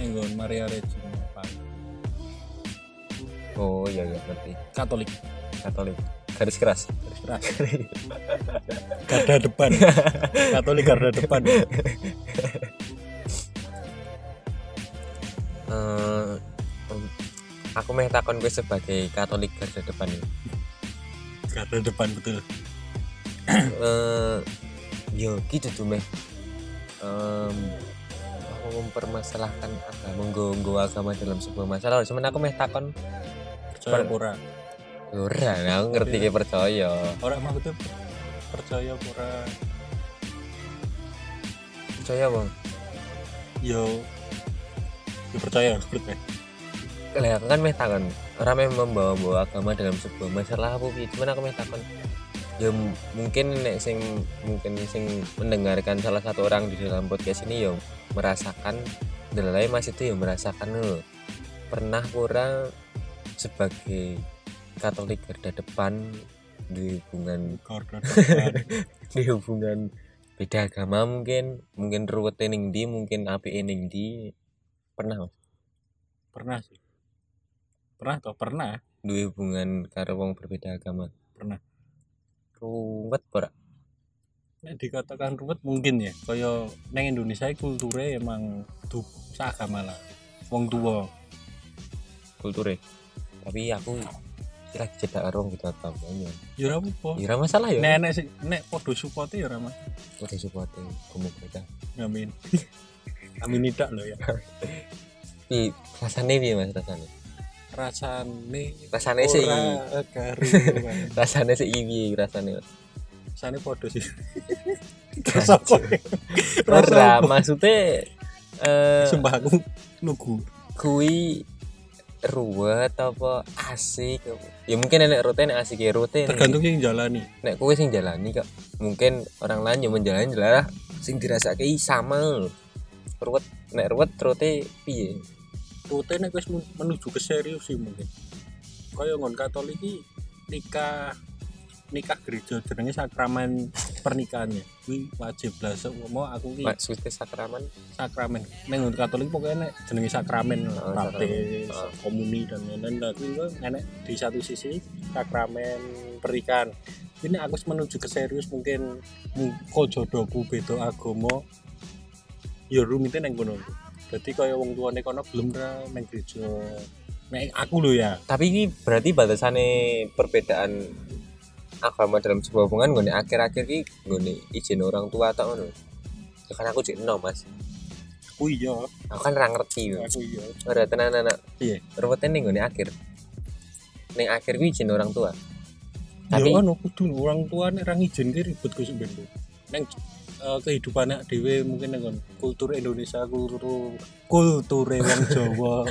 S3: yang nggon Maria Regina Pak.
S2: oh iya iya ngerti
S3: Katolik
S2: Katolik garis keras Eh,
S3: terus keras garda depan Katolik garda depan
S2: Eh, em, aku meh takon gue sebagai Katolik garis depan ini
S3: garda depan betul
S2: eh yo gitu tuh meh Em, aku mempermasalahkan agama nggo agama dalam sebuah masalah cuman aku meh takon
S3: percaya
S2: Per-
S3: pura
S2: ora nah, aku ngerti kayak percaya
S3: orang maksudnya percaya pura
S2: percaya bang
S3: yo yo percaya percaya
S2: lah aku kan meh takon ora meh membawa-bawa agama dalam sebuah masalah apa piye cuman aku meh takon ya m- mungkin nek sing mungkin sing mendengarkan salah satu orang di dalam podcast ini yo merasakan delay mas itu yo ya merasakan lho pernah kurang sebagai Katolik garda depan di hubungan
S3: garda depan
S2: di hubungan beda agama mungkin mungkin ruwet ning di mungkin api ning di pernah Mas?
S3: pernah sih pernah toh pernah
S2: duwe hubungan karo wong berbeda agama
S3: Pernah.
S2: ruwet ora
S3: Nek dikatakan ruwet mungkin ya kaya neng Indonesia iki kulture emang du seagama lah wong tua
S2: kulture tapi aku kira cedak karo wong gitu apa ya
S3: ya ora apa
S2: ya ora masalah ya
S3: nek nek sih nek padha supporte ya ora mas
S2: udah supporte kamu beda
S3: amin amin tidak loh ya
S2: tapi rasane piye Mas rasane
S3: rasane
S2: rasane sih
S3: ora karo
S2: rasane sih piye rasane Mas?
S3: rasane padha sih rasa apa rasa
S2: ora
S3: apa?
S2: maksudnya eh
S3: sumpah aku lugu
S2: kui ruwet apa asik ya mungkin enek rute enek asik ya rute enek-
S3: tergantung yang jalani
S2: nek kowe sing jalani kok mungkin orang lain yang menjalani lah sing dirasake i sama lho. ruwet nek ruwet rute piye
S3: rute nek wis menuju ke serius sih mungkin kaya ngon katolik iki nikah nikah gereja jenenge sakramen pernikahannya kuwi wajib lah mau aku ki
S2: maksudnya sakraman
S3: sakramen nek ngon katolik pokoknya nek jenenge sakramen
S2: Oh, sakramen.
S3: baptis
S2: Oh.
S3: komuni dan lain-lain lah kuwi kok enek di satu sisi sakramen pernikahan ini aku wis menuju ke serius mungkin mu- kok jodohku beda agama ya rumitnya neng kono jadi kaya wong tuane kono belum ra neng gereja nek aku lho ya
S2: tapi ini berarti batasannya perbedaan agama dalam sebuah hubungan gue akhir-akhir ini gue izin orang tua atau ngono ya kan aku jadi no mas
S3: aku iya
S2: aku kan orang ngerti
S3: aku iya
S2: ora tenan anak
S3: Iya.
S2: ruwetnya nih gue akhir ning akhir gue izin orang tua
S3: ya
S2: tapi
S3: kan aku dulu orang tua nek ra ngijin ki ribut ku sembendo neng eh, kehidupan anak dhewe mungkin dengan kultur Indonesia kultur kultur wong Jawa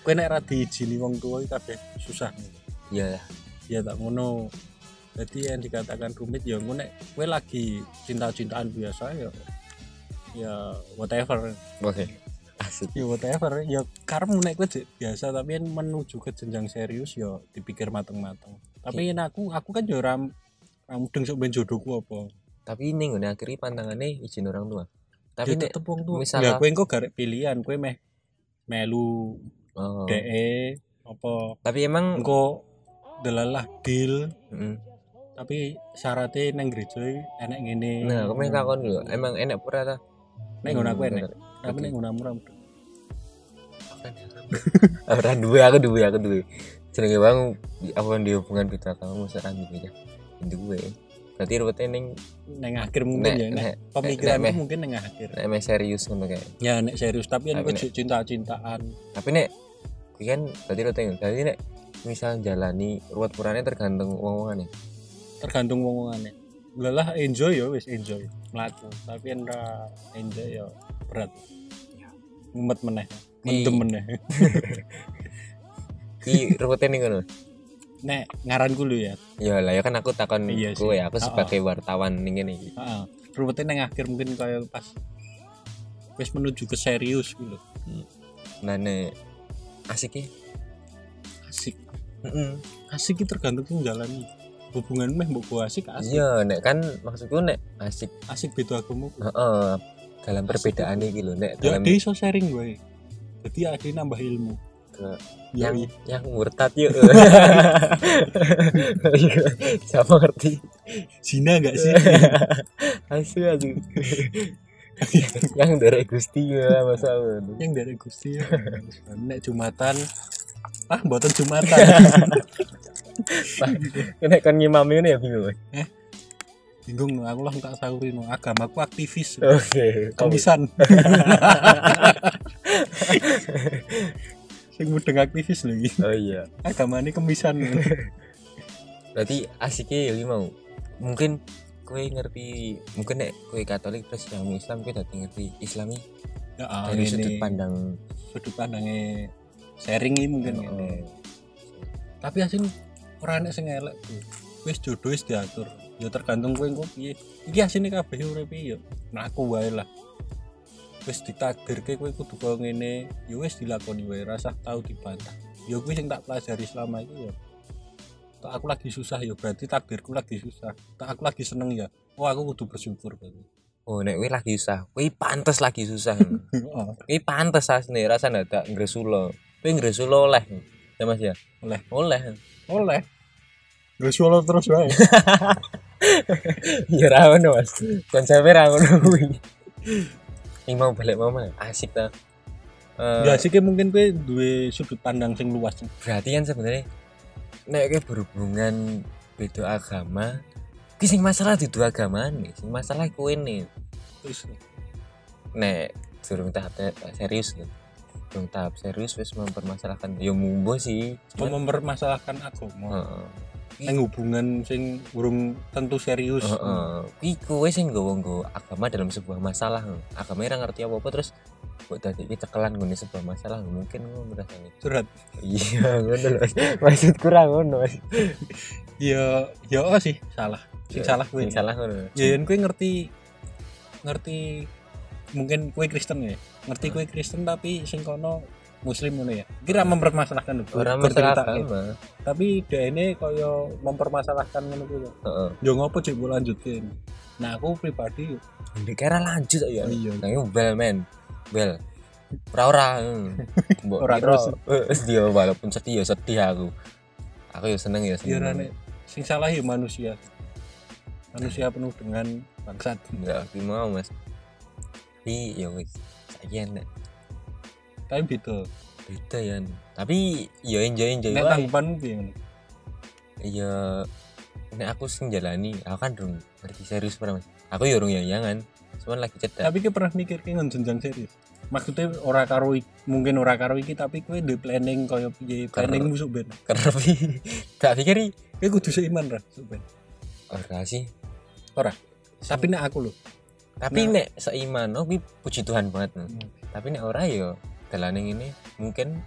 S3: kowe nek ra diijini wong tuwa iki kabeh susah
S2: Iya.
S3: ya tak ngono jadi yang dikatakan rumit ya ngono nek kowe lagi cinta-cintaan biasa ya ya whatever
S2: Oke. Asik.
S3: ya whatever ya karena nek kowe di- biasa tapi yang menuju ke jenjang serius ya dipikir mateng-mateng tapi
S2: Iya.
S3: yang aku aku kan yo ram mudeng sok ben jodohku apa
S2: Tapi ini ngene akhiri pantangannya izin orang tua.
S3: tapi
S2: Tapi nek
S3: tetep wong tuwa
S2: misalnya-
S3: ya kowe engko garek pilihan kowe meh melu
S2: oh.
S3: DE apa
S2: Tapi emang
S3: engko delalah deal
S2: Mm.
S3: tapi syaratnya neng gereja enak ngene
S2: Nah, aku main takon dulu. Emang enak pura ta? Hmm,
S3: Nek ngono aku enak. Tapi
S2: Oke.
S3: nek ngono murah.
S2: Ora duwe, aku duwe, aku duwe. Jenenge Bang apa di hubungan kita kamu mesti ra duwe ya. Duwe. Berarti rupane ning
S3: Neng akhir mungkin
S2: nek
S3: ya nek.
S2: nek nek-
S3: Pemikiranku
S2: nek-
S3: mungkin neng akhir.
S2: nek emang serius ngono kayak.
S3: Ya nek serius tapi
S2: Tapi
S3: aku
S2: nek-
S3: cinta-cintaan.
S2: Tapi nek kuwi kan berarti rupane berarti nek misal jalani ruwet purane tergantung wong-wongane.
S3: Tergantung wong-wongane. Lelah enjoy ya wis enjoy. Mlaku. Tapi nek ra enjoy ya berat. Ngumet meneh. Mendem
S2: Di-
S3: meneh.
S2: Ki rupane ning ngono.
S3: Nek ngaranku lu ya.
S2: Ya lah ya kan aku takon
S3: Iya sih.
S2: kowe, aku
S3: Ah, ah.
S2: sebagai wartawan ning ngene iki.
S3: Heeh. Rupane neng akhir mungkin kaya pas wis menuju ke serius gitu.
S2: Nah, nek asik ya.
S3: Asik. Asik itu tergantung yang jalani. Hubungan meh mbok gua asik asik.
S2: Iya, nek kan maksudku nek asik
S3: Asik beda agamaku.
S2: Heeh, dalam perbedaan iki lho nek
S3: Ya
S2: dalam
S3: dia iso sharing gue. Jadi akhirnya nambah ilmu.
S2: Ke-
S3: Ya,
S2: yang
S3: iya.
S2: yang murtad yuk Iya, siapa ngerti
S3: Zina gak sih?
S2: asu asu yang dari Gusti ya masa aku.
S3: yang dari Gusti ya. Nek Jumatan. Ah, buatan Jumatan.
S2: nek kan ngimami ini ya bingung oke
S3: Bingung aku langsung tak sahuri no. Agamaku aktivis.
S2: Oh, iya. Kamu-
S3: Kamisan. Sing mudeng aktivis lho iki.
S2: oh iya
S3: Agamane kemisan.
S2: berarti asiknya ya iki mau mungkin kue ngerti mungkin nek kue Katolik terus yang Islam kue dadi ngerti Islami
S3: Ya, ah,
S2: dari
S3: ngene.
S2: sudut pandang
S3: sudut pandangnya sharing ini mungkin ngene.
S2: Heeh.
S3: tapi asin ora enek sing elek Bu. wis jodoh wis diatur ya tergantung kowe engko piye iki asine kabeh urip ya mlaku wae lah wis ditakdirke kowe kudu kaya ngene ya wis dilakoni wae rasa tau dibantah ya kuwi sing tak pelajari selama iki ya tak aku lagi susah ya berarti takdirku lagi susah tak aku lagi seneng ya oh aku kudu bersyukur berarti
S2: oh nek kue lagi susah kue pantas lagi susah
S3: Heeh.
S2: Ini pantes asli rasa ndak ngresula. Kowe ngresula oleh. Ya Mas ya.
S3: Oleh.
S2: Oleh.
S3: oleh Terus walau terus wae
S2: Ya ra ngono Mas. Konsepe ra ngono kuwi. Ini mau balik mama asik ta. Eh,
S3: ya sih mungkin kowe duwe sudut pandang sing luas
S2: berarti kan sebenarnya nek kowe berhubungan beda agama, ki sing masalah di dua agama nih, sing masalah kowe nih.
S3: terus
S2: Nek durung tahap te- serius gitu. Durung tahap serius wis mempermasalahkan ya mumbo sih.
S3: mau
S2: Cuman,
S3: mempermasalahkan agama
S2: heeh.
S3: Neng hubungan sing urung tentu serius.
S2: Heeh. Kuwi kowe sing nggawa nggawa agama dalam sebuah masalah. Agama ora ngerti apa-apa terus kok dadi iki cekelan ngene sebuah masalah mungkin ngono ngrasani.
S3: Surat.
S2: Iya, ngono lho. Maksudku ra ngono. Mas.
S3: Ya ya oh sih salah. Sing
S2: Ya,
S3: salah kowe.
S2: Sing salah ngono.
S3: Ya yen kowe ngerti ngerti mungkin kowe Kristen ya. Ngerti kowe Kristen tapi sing kono muslim ngono ya. Kira mempermasalahkan lho,
S2: Ora masalah
S3: bercerita.
S2: agama.
S3: Tapi dhekne kaya mempermasalahkan ngono kuwi. lho.
S2: Heeh.
S3: Ya ngopo cek mbok lanjutkin. Nah aku pribadi
S2: Ndek era lanjut ya.
S3: Oh, iya.
S2: Nang bel men. Bel. Ora ora. Mbok
S3: Ora
S2: kira,
S3: terus.
S2: eh, sedih walaupun sedih ya sedih aku. Aku ya seneng ya
S3: ya ora
S2: seneng.
S3: nek sing salah ya manusia. Manusia penuh dengan bangsat.
S2: Ya, aku mau Mas. Tapi ya wis. Saiki enak.
S3: Tapi beda.
S2: beda ya tapi ya enjoy enjoy
S3: Nek
S2: wae
S3: tanggapanmu piye
S2: Iya.
S3: ngono?
S2: ya nek aku sing jalani aku kan dong ngerti serius pernah mas aku ya urung yangan cuman lagi cedak
S3: tapi kowe pernah mikir ki ngon jenjang serius maksudnya ora karo ik- mungkin ora karo iki tapi kowe di planning kaya piye
S2: Karo-
S3: planning musuh ben
S2: karena pi- gak pikir i.
S3: kowe kudu seiman ra sok ben
S2: ora sih
S3: tapi nek aku lho
S2: tapi
S3: Nah. Hmm.
S2: nek seiman oh kuwi puji Tuhan banget Nen. tapi nek ora yo dalane ngene mungkin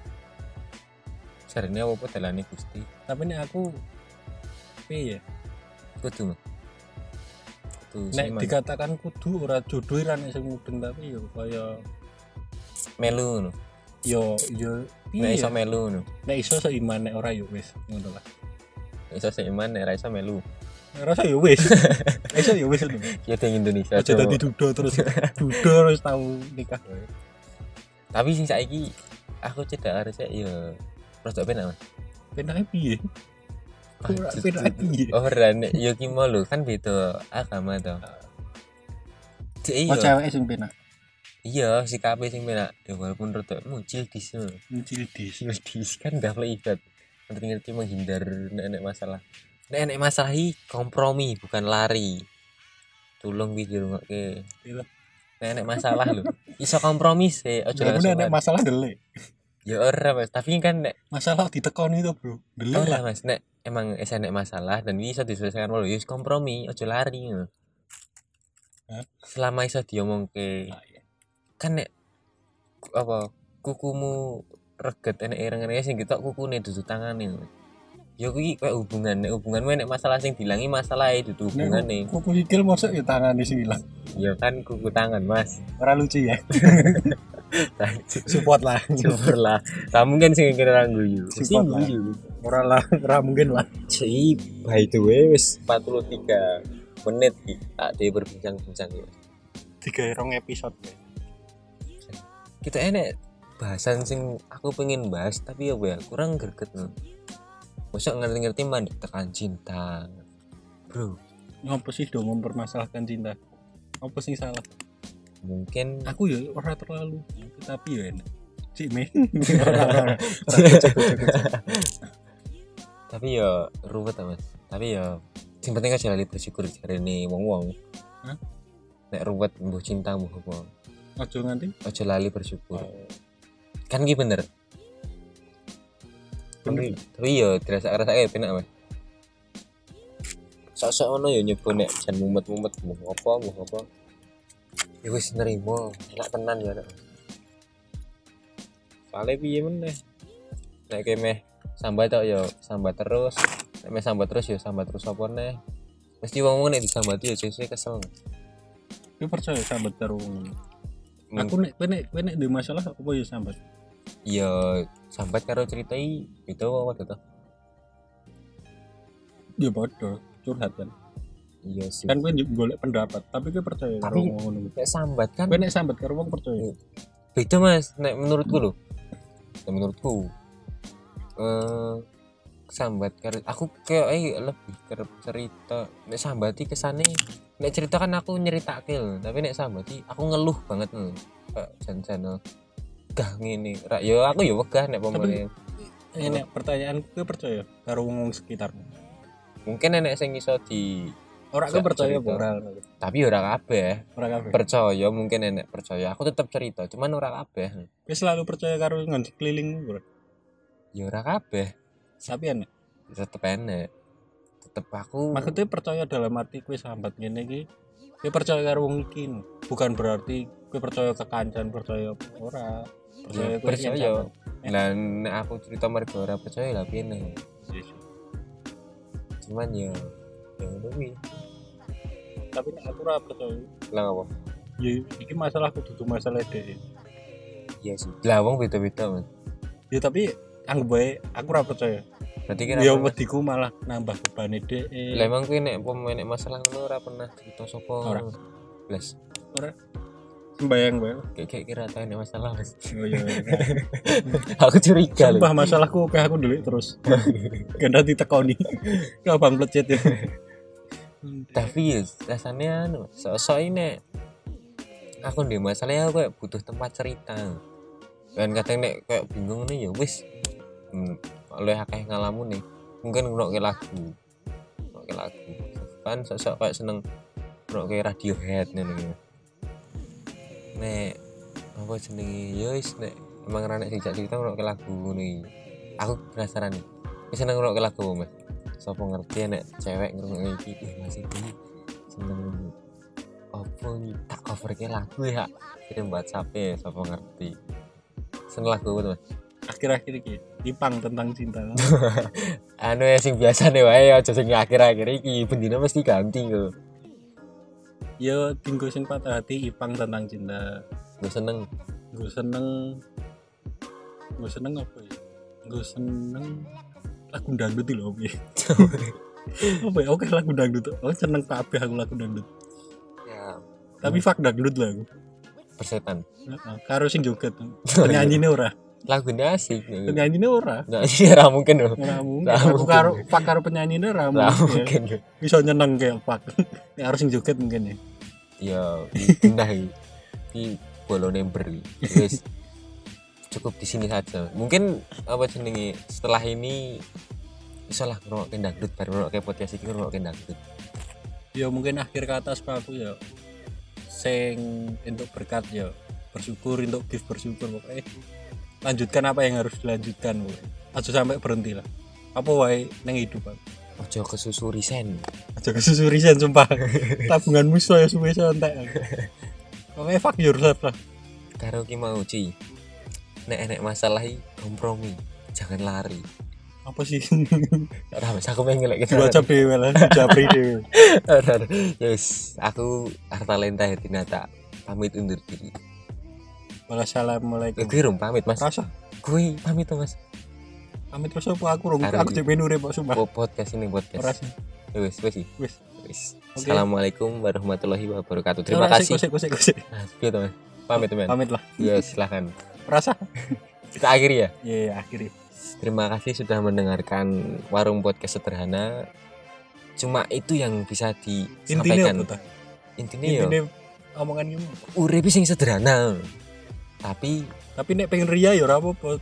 S2: jarine apa dalane Gusti
S3: tapi nek aku piye
S2: kudu Mas. kudu
S3: nek
S2: seiman
S3: dikatakan kudu ora jodoh ora nek sing mudeng tapi yo kaya
S2: melu ngono
S3: yo yo
S2: nek
S3: piye
S2: iso melu ngono
S3: nek iso seiman nek ora yo wis ngono lah
S2: Nek iso seiman nek ora iso melu
S3: Nek ora yo wis Nek iso yo wis lho
S2: ya ding Indonesia
S3: aja
S2: Jawa.
S3: tadi duda terus duda terus tahu nikah
S2: tapi sing saiki aku cedak harusnya ya rodok penak Mas.
S3: penake piye
S2: Ah,
S3: ora
S2: jujur. Oh,
S3: penake piye
S2: ora nek yo ki mau lho kan beda agama to Cek
S3: Oh
S2: iya
S3: cewek sing penak
S2: iya sikape sing penak ya walaupun rodok muncil disu
S3: Mencil dis.
S2: Yudis kan udah ikat ngerti-ngerti menghindar nenek masalah nenek masalah i kompromi bukan lari tolong video nggak ke
S3: Iya.
S2: nenek masalah lo iso kompromi sih ojo
S3: Jadi
S2: langsung
S3: nek
S2: lari.
S3: masalah delik.
S2: ya ora mas tapi kan nek
S3: Masalah ditekon itu, Bro. Delik
S2: ora
S3: lah.
S2: mas nek emang es nek masalah dan iso diselesaikan malu yus kompromi ojo lari ngono.
S3: Hah?
S2: selama iso diomong ke
S3: Ah, iya.
S2: kan nek ku- apa kukumu reget enek ireng-ireng sing ketok kukune dudu tangane ya kuwi kayak hubungan nek hubunganmu nek masalah sing dilangi masalah itu dudu hubungane
S3: Kuku sikil mosok ya tangane sing ilang.
S2: ya kan kuku tangan mas
S3: Ora lucu ya. Support lah.
S2: super lah tak mungkin sing kira guyu mesti
S3: Support lah.
S2: guyu
S3: Ora lah, ora mungkin lah.
S2: Ci, by the way wis 43 menit iki tak dhewe berbincang-bincang ya.
S3: Tiga rong episode.
S2: Kita enek bahasan sing aku pengen bahas tapi ya well kurang greget no. Mosok ngerti-ngerti mandek tekan cinta. Bro,
S3: Ngopo sih do mempermasalahkan cinta? Apa sih salah?
S2: mungkin
S3: Aku ya ora terlalu, tapi ya enak. Cik me. Ora, ora, ora. Cukup, cukup, cukup.
S2: tapi ya ruwet ta, Mas. Tapi ya sing penting aja lali bersyukur jarene wong-wong.
S3: Hah?
S2: Nek ruwet mbuh cinta mbuh apa.
S3: Ojo nganti.
S2: Aja lali bersyukur. Kan ki bener.
S3: Bener.
S2: Tapi, tapi ya dirasa rasa kayak penak mas. Sok sok ono ya nyoba nek jan mumet mumet mau apa mau apa. Ya wis nerimo, enak tenan ya nek. Soale piye meneh? Nek kayak meh sambat tok ya sambat terus. Nek meh sambat terus ya sambat terus apa neh. Mesti wong wong nek disambati ya sesuai kesel.
S3: Aku percaya sambat karo wong ngono. Aku nek kowe nek kowe nek duwe masalah apa ya sambat?
S2: ya sambat karo ceritai itu apa tuh?
S3: Ya bodoh, curhat kan.
S2: Iya sih.
S3: Kan kowe golek pendapat, tapi kowe percaya karo
S2: Tapi-
S3: wong ngono.
S2: Nek sambat kan
S3: Kowe nek sambat karo wong percaya.
S2: beda mas nek menurutku loh nek menurutku eh sambat karo aku kayak eh, lebih ke cerita nek sambati kesane nek cerita kan aku nyeritake lho tapi nek sambati aku ngeluh banget lho kayak jan-jan eh. gah ngene ra yo aku yo wegah nek pemane
S3: Eh, nek pertanyaan kowe percaya karo wong sekitarmu.
S2: mungkin nek sing iso di
S3: Ora kowe
S2: Sa-
S3: percaya
S2: cerita.
S3: apa ora?
S2: tapi ya ora kabeh
S3: Ora kabeh.
S2: percaya mungkin nek percaya aku tetap cerita cuman ora kabeh
S3: Kowe selalu percaya karo ngon keliling ora.
S2: yo Ya ora kabeh
S3: Tapi enak.
S2: tetep enek tetep aku ya
S3: Maksudnya percaya dalam arti kowe sambat ngene iki. Kowe percaya karo wong iki. Bukan berarti kowe percaya ke kancan, percaya apa. ora.
S2: Ya,
S3: Iya, Percaya kowe iki
S2: percaya.
S3: sambat. Eh.
S2: Lah nek aku cerita mergo ora percaya lah piye nih. Cuman ya ya ngono kuwi.
S3: Tapi nek aku ora percaya.
S2: Lah apa?
S3: Ya iki masalah kudu masalah dhek.
S2: Iya sih. Lah wong beda-beda, Mas.
S3: Ya tapi anggap bae aku ora percaya.
S2: Berarti kan
S3: Ya
S2: aku-
S3: wediku malah nambah bebane dhek.
S2: Lah emang kuwi nek pemain nek masalah ngono ora pernah cerita sapa.
S3: Ora.
S2: Blas.
S3: Bayang bae.
S2: Kayak kira tau nek masalah, Mas.
S3: Oh iya. iya.
S2: aku curiga lho.
S3: Sumpah masalahku kayak aku delik terus. Ganda ditekoni. Ke abang plecet ya.
S2: Tapi ya rasanya anu, sok-sok ini nek aku ndek masalah ya aku kayak butuh tempat cerita. Dan kadang nek kayak bingung nih ya wis. Hmm, oleh akeh ngalamu nih. Mungkin ngrungokke lagu. Ngrungokke lagu. Kan sok-sok kayak seneng ngrungokke Radiohead ngono gitu. Nek apa jenenge? Ya wis nek emang ra nek dijak cerita ngrungokke lagu ngono iki. Aku penasaran nih. Wis seneng ngrungokke lagu apa, Mas? Sopo ngerti nek cewek ngrungokke iki eh, masih iki seneng apa nih tak favoritnya lagu ya kirim WhatsApp ya siapa ngerti sen lagu itu Mas.
S3: akhir-akhir ini Ipang tentang cinta
S2: anu ya sing biasa nih wae aja sing akhir-akhir iki bendina mesti ganti kok
S3: yo tinggu Ya, sing patah hati Ipang tentang cinta
S2: gue seneng
S3: gue seneng gue seneng apa ya gue seneng lagu dangdut itu loh ya apa ya oke lagu dangdut aku seneng kabeh aku lagu dangdut
S2: ya
S3: tapi fuck dangdut lah aku
S2: persetan
S3: Heeh, karo sing joget penyanyi ora
S2: lagunya asik nggak
S3: penyanyi ora
S2: sih ra mungkin loh
S3: Iya. ora mungkin
S2: Nggak
S3: aku
S2: mungkin.
S3: karo fuck karo penyanyi
S2: ra
S3: ora mungkin ya.
S2: mungkin yo.
S3: bisa nyeneng kayak fuck ya harus sing joget mungkin ya
S2: ya pindah di bolone beri wis cukup di sini saja mungkin apa jenenge setelah ini bisa lah ngerokok dangdut baru ngerokok podcast ini ngerokok dangdut
S3: ya mungkin akhir kata sama aku ya sing untuk berkat ya bersyukur untuk gift bersyukur pokoknya lanjutkan apa yang harus dilanjutkan pokoknya. aja sampai berhenti lah apa wae neng hidup aku
S2: ojo kesusu risen
S3: aja kesusurisan sumpah tabungan musuh ya suwe entek pokoknya fuck yourself lah
S2: karo ki mau ci nek enek masalah iki, kompromi jangan lari
S3: apa sih
S2: ora wis aku pengen lek
S3: dua jam dewe lah japri dewe
S2: yes Ya aku Artalenta Hedinata pamit undur diri
S3: wassalamualaikum
S2: gue rum pamit mas
S3: rasa
S2: gue pamit tuh mas
S3: amit terus apa aku rung
S2: Karo
S3: aku
S2: iki. Oh,
S3: cek menu pak sumpah
S2: Po- podcast ini podcast
S3: rasa
S2: wes wes sih.
S3: wis
S2: Wis.
S3: Oke.
S2: Assalamualaikum warahmatullahi wabarakatuh. Terima
S3: Ora,
S2: kasih.
S3: sik, sik, sik, sik.
S2: Nah, gitu, Mas. Pamit, teman.
S3: pamit lah
S2: Ya, silahkan.
S3: rasa
S2: Kita akhiri ya.
S3: ya akhirnya
S2: Terima kasih sudah mendengarkan Warung Podcast Sederhana. Cuma itu yang bisa
S3: intinya apa
S2: disampaikan.
S3: tuh?
S2: Intinya ya,
S3: ini omongan ini
S2: urip sing sederhana. Tapi
S3: tapi nek pengen ria ya ora apa-apa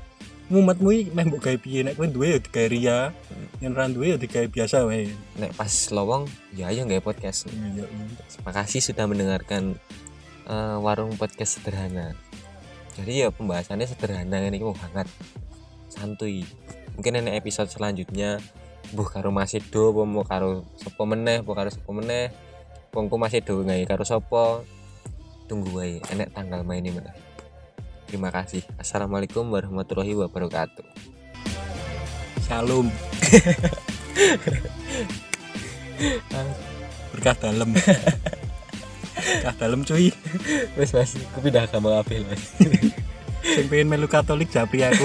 S3: mumetmu iki meh mbok gawe piye nek kowe duwe ya digawe ria
S2: Hmm.
S3: yen ora duwe ya digawe biasa wae
S2: nek pas lowong ya ayo nggak podcast. Terima kasih sudah mendengarkan eh, Warung Podcast Sederhana. Jadi ya pembahasannya sederhana ini kok hangat. Santuy. Mungkin ini episode selanjutnya buh karo masih do apa mau karo sopo meneh apa karo sopo meneh pongku masih do nggak karo sopo tunggu wae enek tanggal main ini meneh terima kasih assalamualaikum warahmatullahi wabarakatuh
S3: Shalom berkah dalam berkah dalam cuy
S2: wes mas aku pindah kamar apel mas
S3: sing pengen melu katolik japri aku